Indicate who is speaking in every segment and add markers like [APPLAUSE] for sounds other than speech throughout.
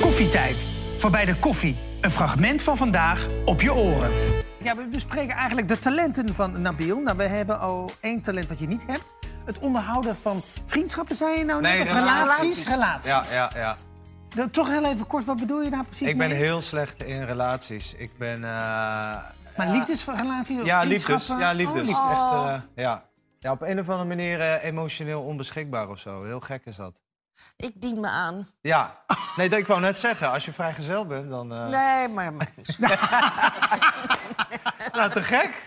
Speaker 1: Koffietijd. Voorbij de koffie. Een fragment van vandaag op je oren. Ja, we bespreken eigenlijk de talenten van Nabil. Nou, we hebben al één talent wat je niet hebt. Het onderhouden van vriendschappen, zei je nou net? of relaties? Relaties.
Speaker 2: Ja, ja, ja.
Speaker 1: Nou, Toch heel even kort, wat bedoel je daar precies
Speaker 2: Ik ben
Speaker 1: mee?
Speaker 2: heel slecht in relaties. Ik ben... eh,
Speaker 1: Maar liefdesrelaties of
Speaker 2: ja, liefdes.
Speaker 1: vriendschappen?
Speaker 2: Ja,
Speaker 1: Oh,
Speaker 2: liefdes.
Speaker 1: liefde.
Speaker 2: Echt, eh, ja. ja, op een of andere manier eh, emotioneel onbeschikbaar of zo. Heel gek is dat.
Speaker 3: Ik dien me aan.
Speaker 2: Ja. Nee, dat- ik wou net zeggen, als je vrijgezel bent, dan...
Speaker 1: Nou,
Speaker 2: eh
Speaker 3: Nee, maar dat maakt niet.
Speaker 2: Nou, te gek.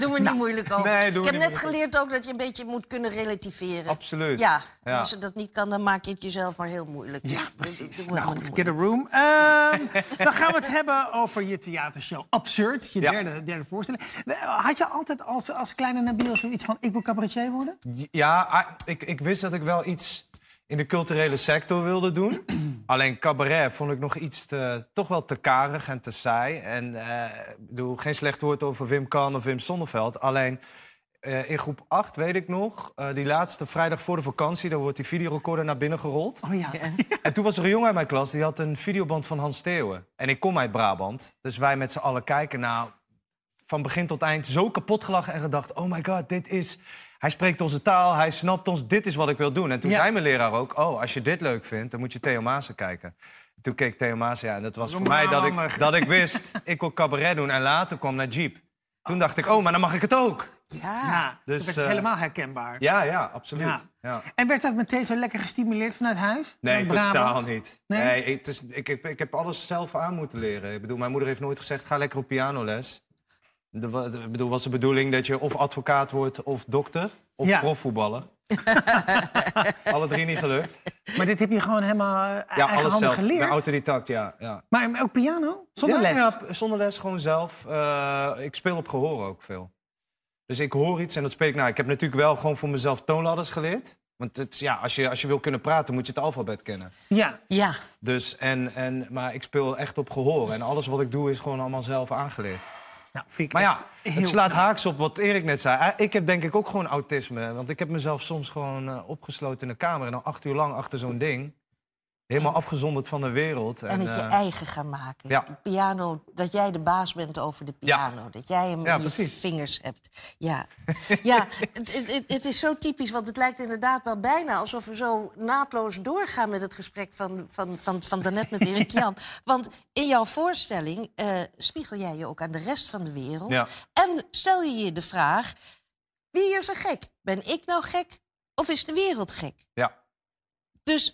Speaker 3: Doe me niet moeilijk over.
Speaker 2: nee, doe me niet
Speaker 3: ik heb net
Speaker 2: moeilijk.
Speaker 3: geleerd ook dat je een beetje moet kunnen relativeren.
Speaker 2: Absoluut.
Speaker 3: Ja,
Speaker 2: Ja.
Speaker 3: als je dat niet kan, dan maak je het jezelf maar heel moeilijk.
Speaker 1: Ja,
Speaker 3: Dus
Speaker 1: precies.
Speaker 3: doe me
Speaker 1: Nou
Speaker 3: maar
Speaker 1: goed,
Speaker 3: niet
Speaker 1: get a room. Ehm, [LAUGHS] dan gaan we het hebben over je theatershow Absurd. Je
Speaker 2: Ja.
Speaker 1: derde, derde voorstelling. Had je altijd als, als kleine Nabil zoiets van... ik wil cabaretier worden?
Speaker 2: Ja, ah, ik, ik wist dat ik wel iets in de culturele sector wilde doen. [CLEARS THROAT] Alleen cabaret vond ik nog iets te, toch wel te karig en te saai. En eh, ik bedoel, geen slecht woord over Wim Kan of Wim Sonneveld. Alleen eh, in groep 8 weet ik nog, eh, die laatste vrijdag voor de vakantie... daar wordt die videorecorder naar binnen gerold.
Speaker 1: Oh ja.
Speaker 2: [LAUGHS] En toen was er een jongen uit mijn klas, die had een videoband van Hans Steeuwen. En ik kom uit Brabant, dus wij met z'n allen kijken naar... van begin tot eind zo kapot gelachen en gedacht... oh my god, dit is... Hij spreekt onze taal, hij snapt ons, dit is wat ik wil doen. En toen
Speaker 1: Ja.
Speaker 2: zei mijn leraar ook... oh, als je dit leuk vindt, dan moet je Theo Maassen kijken. Toen keek Theo Maassen, ja, en dat was
Speaker 1: Dat
Speaker 2: voor
Speaker 1: is
Speaker 2: mij
Speaker 1: een
Speaker 2: dat
Speaker 1: Brabander.
Speaker 2: ik, dat ik wist... ik wil cabaret doen en later kwam naar Jeep. Toen dacht ik, oh, maar dan mag ik het ook.
Speaker 3: moeilijk. Ja.
Speaker 1: ja
Speaker 2: dus,
Speaker 1: dus, dat is
Speaker 2: eh,
Speaker 1: helemaal herkenbaar.
Speaker 2: Ja, ja, absoluut.
Speaker 1: Ja.
Speaker 2: Ja.
Speaker 1: En werd dat meteen zo lekker gestimuleerd vanuit huis? Vanuit
Speaker 2: Nee,
Speaker 1: Brabant?
Speaker 2: totaal niet.
Speaker 1: Nee?
Speaker 2: Nee, het is, ik, heb, ik heb alles zelf aan moeten leren. Ik bedoel, mijn moeder heeft nooit gezegd, ga lekker op pianoles. De, wa- de- ik bedoel, was de bedoeling dat je of advocaat wordt of dokter... of
Speaker 1: Ja. [LAUGHS]
Speaker 2: profvoetballer. Alle drie niet gelukt.
Speaker 1: Maar dit heb je gewoon helemaal eh,
Speaker 2: Ja,
Speaker 1: eigenhandig
Speaker 2: alles zelf.
Speaker 1: geleerd?
Speaker 2: Mijn autodidact, ja. ja.
Speaker 1: Maar maar ook piano? Zonder
Speaker 2: Ja,
Speaker 1: les?
Speaker 2: Ja, p- zonder les, gewoon zelf. Eh, ik speel op gehoor ook veel. Dus ik hoor iets en dat speel ik na. Ik heb natuurlijk wel gewoon voor mezelf toonladders geleerd. Want het, is- ja, als, je, als je wil kunnen praten, moet je het alfabet kennen.
Speaker 1: Ja.
Speaker 3: ja.
Speaker 2: Dus en, en, maar ik speel echt op gehoor. En alles wat ik doe is gewoon allemaal zelf aangeleerd.
Speaker 1: Nou, vind ik
Speaker 2: Maar ja,
Speaker 1: echt heel
Speaker 2: het slaat haaks op wat Erik net zei. Eh, Ik heb denk ik ook gewoon autisme. Want ik heb mezelf soms gewoon eh, opgesloten in de kamer. En dan acht uur lang achter zo'n ding. Helemaal afgezonderd van de wereld.
Speaker 3: En het je
Speaker 2: eh,
Speaker 3: eigen gaan maken.
Speaker 2: ja.
Speaker 3: De piano, dat jij de baas bent over de piano. Dat jij hem
Speaker 2: Ja,
Speaker 3: in je
Speaker 2: precies.
Speaker 3: vingers hebt.
Speaker 2: [LAUGHS]
Speaker 3: Ja, ja het, het- het, het is zo typisch, want het lijkt inderdaad wel bijna... alsof we zo naadloos doorgaan met het gesprek van, van, van, van daarnet met
Speaker 2: [LAUGHS]
Speaker 3: Erik Jan. Want in jouw voorstelling eh, spiegel jij je ook aan de rest van de wereld.
Speaker 2: Ja.
Speaker 3: En stel je je de vraag, wie hier zo gek? Ben ik nou gek of is de wereld gek?
Speaker 2: ja.
Speaker 3: Dus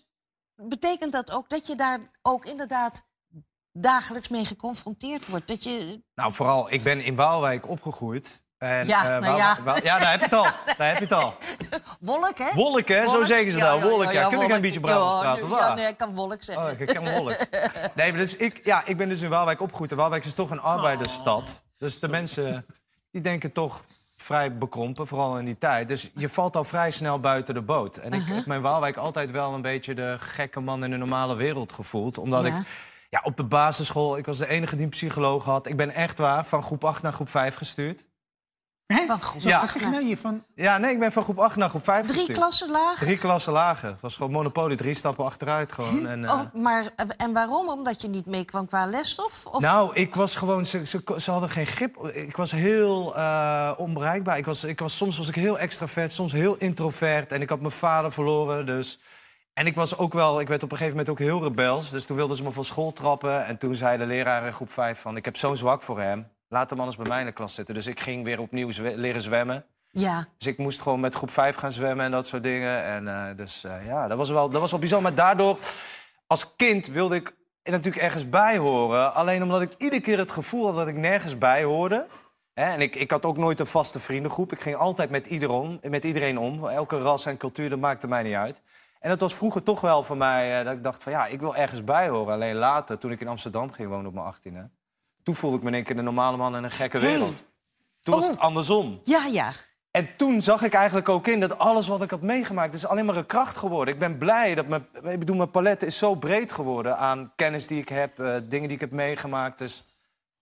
Speaker 3: betekent dat ook dat je daar ook inderdaad dagelijks mee geconfronteerd wordt? Dat je,
Speaker 2: Nou, vooral, ik ben in Waalwijk opgegroeid. En,
Speaker 3: Ja,
Speaker 2: eh,
Speaker 3: nou
Speaker 2: Waal-
Speaker 3: ja.
Speaker 2: Waal- ja, daar heb je het al. Daar heb je het
Speaker 3: [LAUGHS]
Speaker 2: al.
Speaker 3: wolk, hè?
Speaker 2: Wolk, hè? Zo
Speaker 3: Wolk.
Speaker 2: zeggen ze
Speaker 3: Ja,
Speaker 2: daar.
Speaker 3: ja,
Speaker 2: Wolk, ja. Kun ik
Speaker 3: wolk.
Speaker 2: een beetje
Speaker 3: Ja,
Speaker 2: Brabant praten?
Speaker 3: nu-
Speaker 2: Waar?
Speaker 3: Ja, nee, ik kan wolk zeggen.
Speaker 2: Oh, ik ken Wolk. Nee, maar dus ik, ja, ik ben dus in Waalwijk opgegroeid. En Waalwijk is toch een arbeidersstad. Dus
Speaker 3: Oh.
Speaker 2: de mensen die denken toch vrij bekrompen, vooral in die tijd. Dus je valt al vrij snel buiten de boot. En ik
Speaker 3: Uh-huh.
Speaker 2: heb mijn Waalwijk altijd wel een beetje de gekke man in de normale wereld gevoeld. Omdat
Speaker 3: Ja.
Speaker 2: ik ja, op de basisschool, ik was de enige die een psycholoog had. Ik ben echt waar van groep 8 naar groep 5 gestuurd.
Speaker 1: Hè?
Speaker 3: Van groep
Speaker 1: ja.
Speaker 2: acht
Speaker 1: Wat zeg je nou hier van...
Speaker 2: Ja, nee, ik ben van groep 8 naar groep 5
Speaker 3: Drie
Speaker 2: gestuurd.
Speaker 3: klassen laag.
Speaker 2: Drie klassen lager. Het was gewoon Monopoly, drie stappen achteruit gewoon. En, eh,
Speaker 3: Oh, maar, en waarom? Omdat je niet meekwam qua lesstof? Of
Speaker 2: Nou, ik was gewoon, ze, ze, ze hadden geen grip. Ik was heel eh, onbereikbaar. Ik was, ik was, soms was ik heel extravert, soms heel introvert. En ik had mijn vader verloren, dus... En ik was ook wel, ik werd op een gegeven moment ook heel rebels. Dus toen wilden ze me van school trappen. En toen zei de leraar in groep 5 van, ik heb zo'n zwak voor hem. Laat hem anders bij mij in de klas zitten. Dus ik ging weer opnieuw zwe- leren zwemmen.
Speaker 3: ja.
Speaker 2: Dus ik moest gewoon met groep 5 gaan zwemmen en dat soort dingen. En eh, dus eh, ja, dat was, wel, dat was wel bijzonder. Maar daardoor, als kind wilde ik er natuurlijk ergens bij horen. Alleen omdat ik iedere keer het gevoel had dat ik nergens bij hoorde. Hè, en ik, ik had ook nooit een vaste vriendengroep. Ik ging altijd met, ieder om, met iedereen om. Elke ras en cultuur, dat maakte mij niet uit. En dat was vroeger toch wel voor mij eh, dat ik dacht van ja, ik wil ergens bij horen. Alleen later, toen ik in Amsterdam ging wonen op mijn 18e... toen voelde ik me in één keer een normale man in een gekke
Speaker 3: Hey.
Speaker 2: wereld. Toen was het andersom.
Speaker 3: ja, ja.
Speaker 2: En toen zag ik eigenlijk ook in dat alles wat ik had meegemaakt... is alleen maar een kracht geworden. Ik ben blij dat mijn, ik bedoel, mijn palet is zo breed geworden... aan kennis die ik heb, eh, dingen die ik heb meegemaakt. Dus,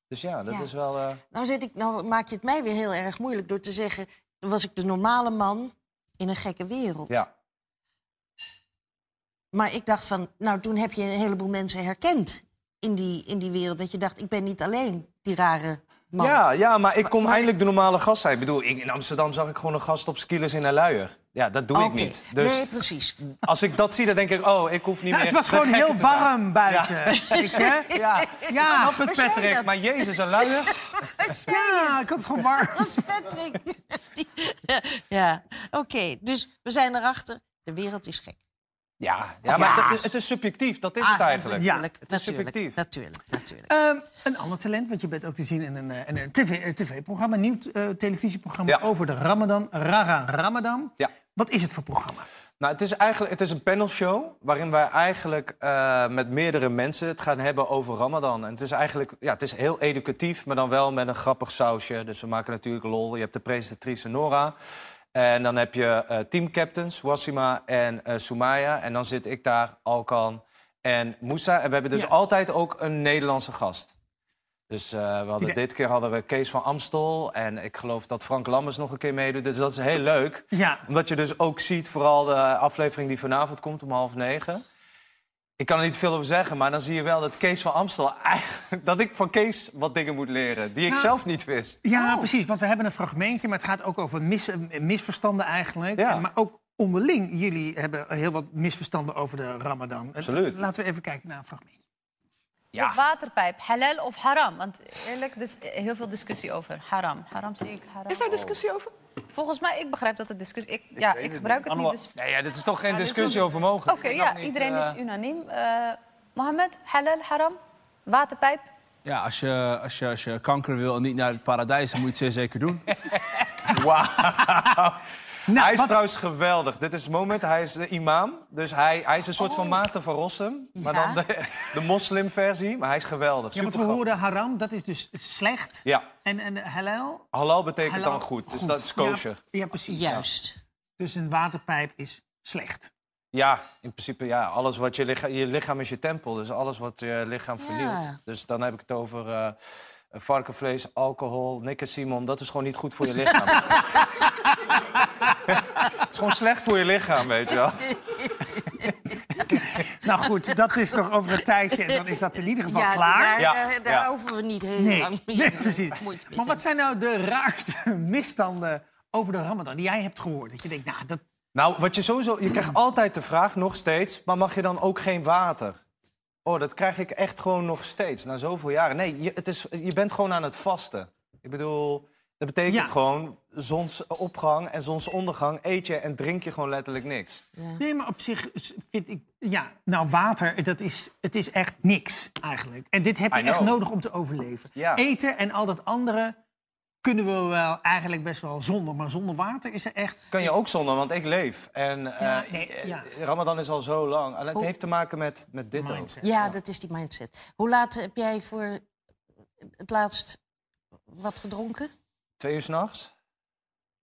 Speaker 2: dus ja, dat
Speaker 3: Ja.
Speaker 2: is wel... eh,
Speaker 3: Nou, zit ik, nou maak je het mij weer heel erg moeilijk door te zeggen... was ik de normale man in een gekke wereld.
Speaker 2: ja.
Speaker 3: Maar ik dacht van, nou, toen heb je een heleboel mensen herkend in die, in die wereld. Dat je dacht, ik ben niet alleen die rare man.
Speaker 2: Ja, ja, maar ik kon eindelijk de normale gast zijn. Ik bedoel, ik, in Amsterdam zag ik gewoon een gast op skilers in een luier. Ja, dat doe ik
Speaker 3: Oké.
Speaker 2: niet. Dus
Speaker 3: Nee, precies.
Speaker 2: als ik dat zie, dan denk ik, oh, ik hoef niet
Speaker 1: Nou,
Speaker 2: meer...
Speaker 1: het was
Speaker 2: de
Speaker 1: gewoon
Speaker 2: gekke
Speaker 1: heel
Speaker 2: te zijn.
Speaker 1: warm buiten. Weet je?
Speaker 2: [LAUGHS] Ja,
Speaker 1: Ja,
Speaker 2: snap het,
Speaker 3: zei
Speaker 2: Patrick.
Speaker 3: dat?
Speaker 2: Maar jezus, een luier.
Speaker 1: ja, ik had het gewoon warm.
Speaker 3: Dat is Patrick.
Speaker 1: [LAUGHS]
Speaker 3: Die- ja, oké. Dus we zijn erachter. De wereld is gek.
Speaker 2: Ja, ja maar
Speaker 3: Ja.
Speaker 2: dat is- het is subjectief. Dat is
Speaker 3: Ah,
Speaker 2: het eigenlijk.
Speaker 1: Ja,
Speaker 3: Natuurlijk,
Speaker 2: het is
Speaker 3: natuurlijk,
Speaker 2: subjectief.
Speaker 3: Natuurlijk, natuurlijk.
Speaker 1: Ehm, een ander talent, want je bent ook te zien in een, eh, in een TV, eh, tv-programma, een nieuw eh, televisieprogramma
Speaker 2: Ja.
Speaker 1: over de Ramadan, Rara Ramadan.
Speaker 2: Ja.
Speaker 1: Wat is het voor programma?
Speaker 2: Nou, het is eigenlijk het is een panelshow waarin wij eigenlijk eh, met meerdere mensen het gaan hebben over Ramadan. En het is eigenlijk ja, het is heel educatief, maar dan wel met een grappig sausje. Dus we maken natuurlijk lol. Je hebt de presentatrice Nora. En dan heb je eh, teamcaptains Wassima en eh Soumaya. En dan zit ik daar, Alkan en Moussa. En we hebben dus
Speaker 1: Ja.
Speaker 2: altijd ook een Nederlandse gast. Dus eh, we hadden,
Speaker 1: Ja.
Speaker 2: dit keer hadden we Kees van Amstel. En ik geloof dat Frank Lammers nog een keer meedoet. Dus dat is heel leuk.
Speaker 1: Ja.
Speaker 2: Omdat je dus ook ziet, vooral de aflevering die vanavond komt om half negen. Ik kan er niet veel over zeggen, maar dan zie je wel dat Kees van Amstel... eigenlijk- dat ik van Kees wat dingen moet leren die ik
Speaker 1: Nou.
Speaker 2: zelf niet wist.
Speaker 1: Ja,
Speaker 3: Oh.
Speaker 1: precies, want we hebben een fragmentje, maar het gaat ook over mis, eh, misverstanden eigenlijk.
Speaker 2: Ja.
Speaker 1: En Maar ook onderling, jullie hebben heel wat misverstanden over de Ramadan. En
Speaker 2: Absoluut.
Speaker 1: Laten we even kijken naar een fragmentje.
Speaker 2: Ja.
Speaker 4: Op waterpijp, halal of haram? Want eerlijk, dus heel veel discussie over. Haram, haram zie ik, haram.
Speaker 5: Is daar discussie over?
Speaker 4: Volgens mij, ik begrijp dat het discussie... Ik, ja, ik gebruik het niet, dus...
Speaker 6: Nee, ja, dit is toch geen discussie over mogen.
Speaker 4: Oké,
Speaker 6: Ik snap
Speaker 4: ja,
Speaker 6: niet,
Speaker 4: iedereen
Speaker 6: eh,
Speaker 4: is unaniem. Eh Mohammed, halal, haram, waterpijp.
Speaker 6: Ja, als je, als, je, als je kanker wil en niet naar het paradijs, dan moet je het zeer zeker doen.
Speaker 1: [LAUGHS] Nou,
Speaker 2: hij is
Speaker 1: wat-
Speaker 2: trouwens geweldig. Dit is het moment, hij is de imam. Dus hij, hij is een soort
Speaker 1: Oh.
Speaker 2: van Maarten van Rossum. Maar
Speaker 3: Ja.
Speaker 2: dan de, de moslimversie. Maar hij is geweldig.
Speaker 1: ja, want
Speaker 2: Super
Speaker 1: we hoorden haram, dat is dus slecht.
Speaker 2: Ja,
Speaker 1: En, en eh, halal?
Speaker 2: halal betekent
Speaker 1: halal,
Speaker 2: dan goed. Dus dat is kosher.
Speaker 1: Ja, Eh, ja, precies.
Speaker 3: Juist.
Speaker 1: Dus een waterpijp is slecht.
Speaker 2: Ja, in principe ja. Alles wat je, licha je lichaam is je tempel. Dus alles wat je lichaam
Speaker 3: Ja.
Speaker 2: vernielt. Dus dan heb ik het over eh, varkenvlees, alcohol, Nick en Simon. Dat is gewoon niet goed voor je lichaam. [LAUGHS] Het is gewoon slecht voor je lichaam, weet je wel.
Speaker 1: Nou goed, dat is nog over een tijdje en dan is dat in ieder geval klaar.
Speaker 3: Daar, eh,
Speaker 2: Ja,
Speaker 3: daar- daar
Speaker 2: ja.
Speaker 3: hoeven we niet heel
Speaker 1: Nee,
Speaker 3: lang
Speaker 1: nee, precies.
Speaker 3: moeite mee
Speaker 1: Maar
Speaker 3: te
Speaker 1: wat zijn nou de raarste misstanden over de Ramadan die jij hebt gehoord? Dat je denkt, nou, dat,
Speaker 2: Nou, wat je sowieso... Je krijgt altijd de vraag, nog steeds... maar mag je dan ook geen water? Oh, dat krijg ik echt gewoon nog steeds, na zoveel jaren. Nee, je, het is, je bent gewoon aan het vasten. Ik bedoel, dat betekent
Speaker 1: Ja.
Speaker 2: gewoon... zonsopgang en zonsondergang eet je en drink je gewoon letterlijk niks.
Speaker 1: nee, maar op zich vind ik, ja, nou, water, dat is, het is echt niks eigenlijk. En dit heb je
Speaker 2: I
Speaker 1: echt
Speaker 2: know.
Speaker 1: nodig om te overleven.
Speaker 2: Ja.
Speaker 1: Eten en al dat andere kunnen we wel eigenlijk best wel zonder, maar zonder water is er echt.
Speaker 2: Kan je ook zonder, want ik leef. En eh,
Speaker 1: Ja, nee, ja.
Speaker 2: Ramadan is al zo lang. En het heeft te maken met, met dit ook.
Speaker 1: Mindset.
Speaker 3: Ja, dat is die mindset. Hoe laat heb jij voor het laatst wat gedronken?
Speaker 2: Twee uur s'nachts?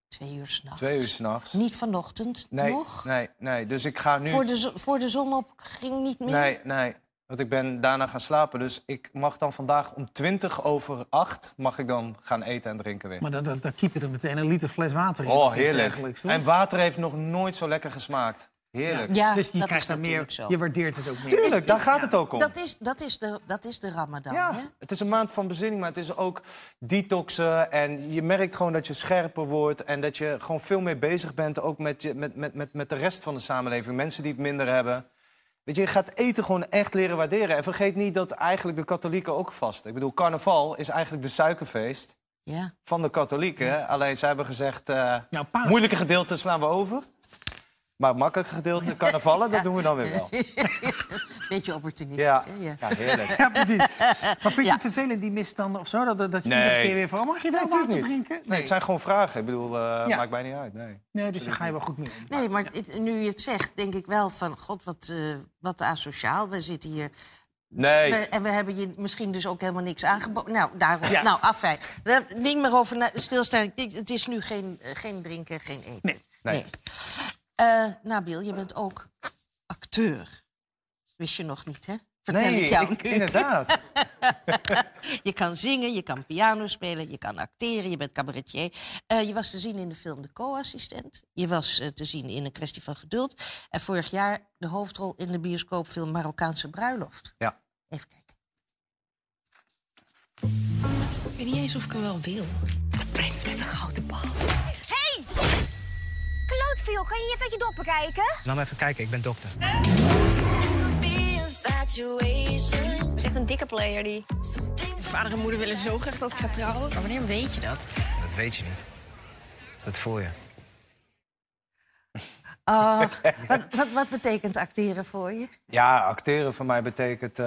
Speaker 3: Twee uur s'nachts.
Speaker 2: Twee uur s'nachts.
Speaker 3: Niet vanochtend
Speaker 2: Nee,
Speaker 3: nog?
Speaker 2: nee, nee. Dus ik ga nu...
Speaker 3: Voor, de zo- voor de zon op ging niet meer?
Speaker 2: Nee, nee. Want ik ben daarna gaan slapen. Dus ik mag dan vandaag om 20 over 8 mag ik dan gaan eten en drinken weer.
Speaker 1: Maar dan, dan, dan kiep je er meteen een liter fles water in.
Speaker 2: Oh,
Speaker 1: Dat is
Speaker 2: heerlijk.
Speaker 1: eigenlijk, toch?
Speaker 2: En water heeft nog nooit zo lekker gesmaakt. Heerlijk.
Speaker 3: Ja,
Speaker 1: dus je
Speaker 3: dat
Speaker 1: krijgt
Speaker 3: is
Speaker 1: daar meer,
Speaker 3: natuurlijk zo.
Speaker 1: je waardeert het ook meer.
Speaker 2: Tuurlijk, daar gaat het ook om.
Speaker 3: Dat is, dat is, de, dat is de ramadan, hè?
Speaker 2: Ja, het is een maand van bezinning, maar het is ook detoxen. En je merkt gewoon dat je scherper wordt. En dat je gewoon veel meer bezig bent ook met, je, met, met, met, met de rest van de samenleving. Mensen die het minder hebben. Weet je, je gaat eten gewoon echt leren waarderen. En vergeet niet dat eigenlijk de katholieken ook vasten. Ik bedoel, carnaval is eigenlijk de suikerfeest
Speaker 3: Ja.
Speaker 2: van de katholieken. Alleen zij hebben gezegd, eh,
Speaker 1: Nou, paas.
Speaker 2: moeilijke gedeelten slaan we over. Maar makkelijke gedeelte, carnavallen, dat doen we dan weer wel.
Speaker 3: Beetje opportunistisch,
Speaker 2: Ja,
Speaker 3: hè? Ja.
Speaker 2: ja
Speaker 1: [LAUGHS]
Speaker 2: heerlijk.
Speaker 1: Ja, precies. Maar vind je het vervelend, die misstanden of zo? Dat, dat, dat je
Speaker 2: Nee.
Speaker 1: iedere keer weer van, oh, mag je wel
Speaker 2: Nee,
Speaker 1: water
Speaker 2: natuurlijk niet.
Speaker 1: drinken?
Speaker 2: Nee, het zijn gewoon vragen. Ik bedoel, eh,
Speaker 1: Ja.
Speaker 2: maakt mij niet uit. Nee.
Speaker 1: nee, dus daar ga je wel goed mee om.
Speaker 3: Nee, maar het- nu je het zegt, denk ik wel van... God, wat, eh, wat asociaal. We zitten hier
Speaker 2: Nee.
Speaker 3: We- en we hebben je misschien dus ook helemaal niks aangeboden. Nou, daarom.
Speaker 1: Ja.
Speaker 3: Nou, afijn. Daar heb ik niet meer over na- stilstaan. Ik denk, Het is nu geen, eh, geen drinken, geen eten.
Speaker 1: Nee,
Speaker 2: nee.
Speaker 3: Eh, Nabil, je bent ook acteur. Wist je nog niet, hè? Vertel ik jou [LAUGHS] nu.
Speaker 2: inderdaad.
Speaker 3: Je kan zingen, je kan piano spelen, je kan acteren, je bent cabaretier. Eh, je was te zien in de film De Co-assistent. Je was eh, te zien in een kwestie van geduld. En vorig jaar de hoofdrol in de bioscoopfilm Marokkaanse Bruiloft.
Speaker 2: Ja.
Speaker 3: Even kijken.
Speaker 5: Ik weet niet eens of ik hem wel wil. De prins met de gouden bal.
Speaker 7: Hé! Hey! Klootviool, kan je niet even uit je doppen kijken?
Speaker 8: Laat me even kijken, ik ben dokter.
Speaker 7: Dat is echt een dikke player, die.
Speaker 5: Vader en moeder willen zo graag dat ik ga trouwen. Maar wanneer weet je dat?
Speaker 8: Dat weet je niet. Dat voel je.
Speaker 3: Ach, Oh, wat, wat, wat betekent acteren voor je?
Speaker 2: Ja, acteren voor mij betekent. eh,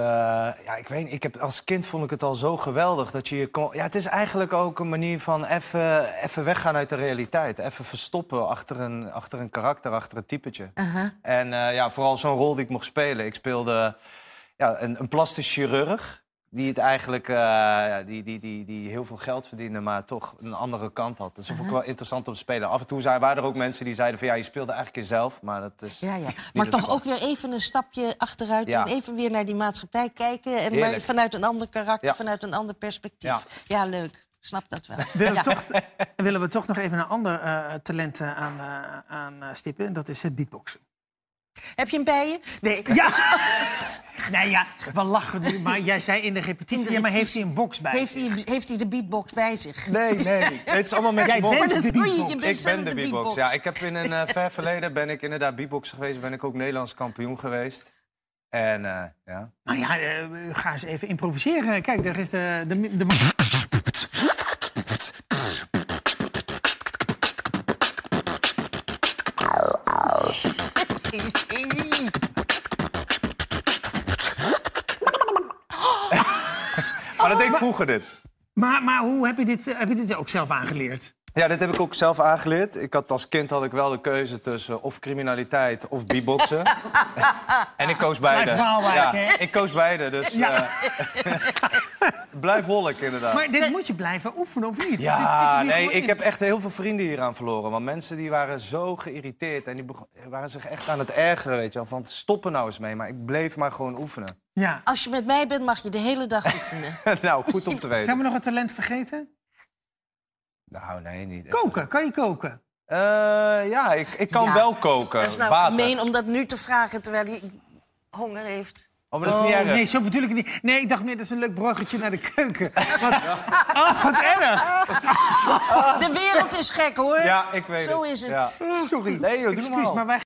Speaker 2: ja, ik weet niet, ik heb, als kind vond ik het al zo geweldig dat je je kon. Ja, het is eigenlijk ook een manier van even even weggaan uit de realiteit. Even verstoppen achter een, achter een karakter, achter een typetje. En eh, ja, vooral zo'n rol die ik mocht spelen. Ik speelde ja, een, een plastisch chirurg. Die het eigenlijk, eh, ja, die, die, die, die heel veel geld verdiende, maar toch een andere kant had. Dus dat
Speaker 3: Mhm.
Speaker 2: vond ik wel interessant om te spelen. Af en toe zijn, waren er ook mensen die zeiden van ja, je speelde eigenlijk jezelf. Maar dat is
Speaker 3: Ja, ja.
Speaker 2: niet
Speaker 3: Maar
Speaker 2: het
Speaker 3: toch ook weer even een stapje achteruit
Speaker 2: Ja.
Speaker 3: doen. Even weer naar die maatschappij kijken. En maar
Speaker 2: Heerlijk.
Speaker 3: vanuit een ander karakter,
Speaker 2: Ja.
Speaker 3: vanuit een ander perspectief. Ja,
Speaker 2: Ja.
Speaker 3: leuk. Ik Snap dat wel.
Speaker 1: Willen,
Speaker 3: Ja.
Speaker 1: we toch, willen we toch nog even een ander eh, talent eh, aan, eh, aan eh, stippen? En dat is het beatboxen.
Speaker 3: Heb je hem bij je? Nee, ik-
Speaker 1: Ja! [LAUGHS] nou ja, we lachen nu, maar jij zei in de repetitie...
Speaker 3: In de
Speaker 1: ja, maar heeft
Speaker 3: repetitie.
Speaker 1: hij een box bij?
Speaker 3: heeft, hij, heeft hij de beatbox bij zich?
Speaker 2: Nee,
Speaker 3: [LAUGHS]
Speaker 2: nee. Het is allemaal met
Speaker 1: Jij
Speaker 2: je mond.
Speaker 1: bent de
Speaker 3: dat
Speaker 1: beatbox.
Speaker 3: doe je, je bent
Speaker 2: Ik
Speaker 3: zelf
Speaker 2: ben de beatbox.
Speaker 3: beatbox.
Speaker 2: Ja, ik heb in een eh, ver verleden ben ik inderdaad beatboxer geweest. Ben ik ook Nederlands kampioen geweest. En eh, ja.
Speaker 1: Nou ja, eh, ga eens even improviseren. Kijk, daar is de... de, de...
Speaker 3: Oh,
Speaker 2: Maar dat deed ik vroeger dit.
Speaker 1: Maar, maar hoe heb je, dit, eh, heb je dit ook zelf aangeleerd?
Speaker 2: Ja, dit heb ik ook zelf aangeleerd. Ik had, als kind had ik wel de keuze tussen of criminaliteit
Speaker 1: [LAUGHS]
Speaker 2: of beatboxen. en ik koos beide.
Speaker 1: Blijf nou
Speaker 2: Ja,
Speaker 1: eigenlijk, hè?
Speaker 2: ik koos beide, dus
Speaker 1: Ja.
Speaker 2: eh, blijf wolk inderdaad.
Speaker 1: Maar dit moet je blijven oefenen, of niet?
Speaker 2: Ja,
Speaker 1: Dit zit er nu
Speaker 2: nee,
Speaker 1: gewoon
Speaker 2: ik
Speaker 1: in.
Speaker 2: heb echt heel veel vrienden hieraan verloren. Want mensen die waren zo geïrriteerd en die begon- waren zich echt aan het ergeren, weet je wel. Van stoppen nou eens mee, maar ik bleef maar gewoon oefenen. [LAUGHS]
Speaker 1: Ja.
Speaker 3: Als je met mij bent, mag je de hele dag oefenen.
Speaker 2: nou, goed om te
Speaker 1: Zijn
Speaker 2: weten.
Speaker 1: we nog een talent vergeten?
Speaker 2: Nou, nee, niet. echt.
Speaker 1: Koken, kan je koken?
Speaker 2: Eh, ja, ik, ik kan
Speaker 3: Ja,
Speaker 2: wel koken.
Speaker 3: Dat is nou
Speaker 2: water.
Speaker 3: gemeen om dat nu te vragen terwijl hij honger heeft.
Speaker 2: Oh, maar dat is niet
Speaker 1: Oh,
Speaker 2: erg.
Speaker 1: Nee, zo bedoel ik het niet. Nee, ik dacht meer, dat is een leuk bruggetje naar de keuken. [LAUGHS] Wat, oh, wat erg.
Speaker 3: De wereld is gek hoor.
Speaker 2: Ja, ik weet
Speaker 3: Zo
Speaker 2: het.
Speaker 3: is het.
Speaker 2: Ja.
Speaker 1: Sorry.
Speaker 2: Nee, joh, doe
Speaker 1: Excuus,
Speaker 2: normaal.
Speaker 1: maar wij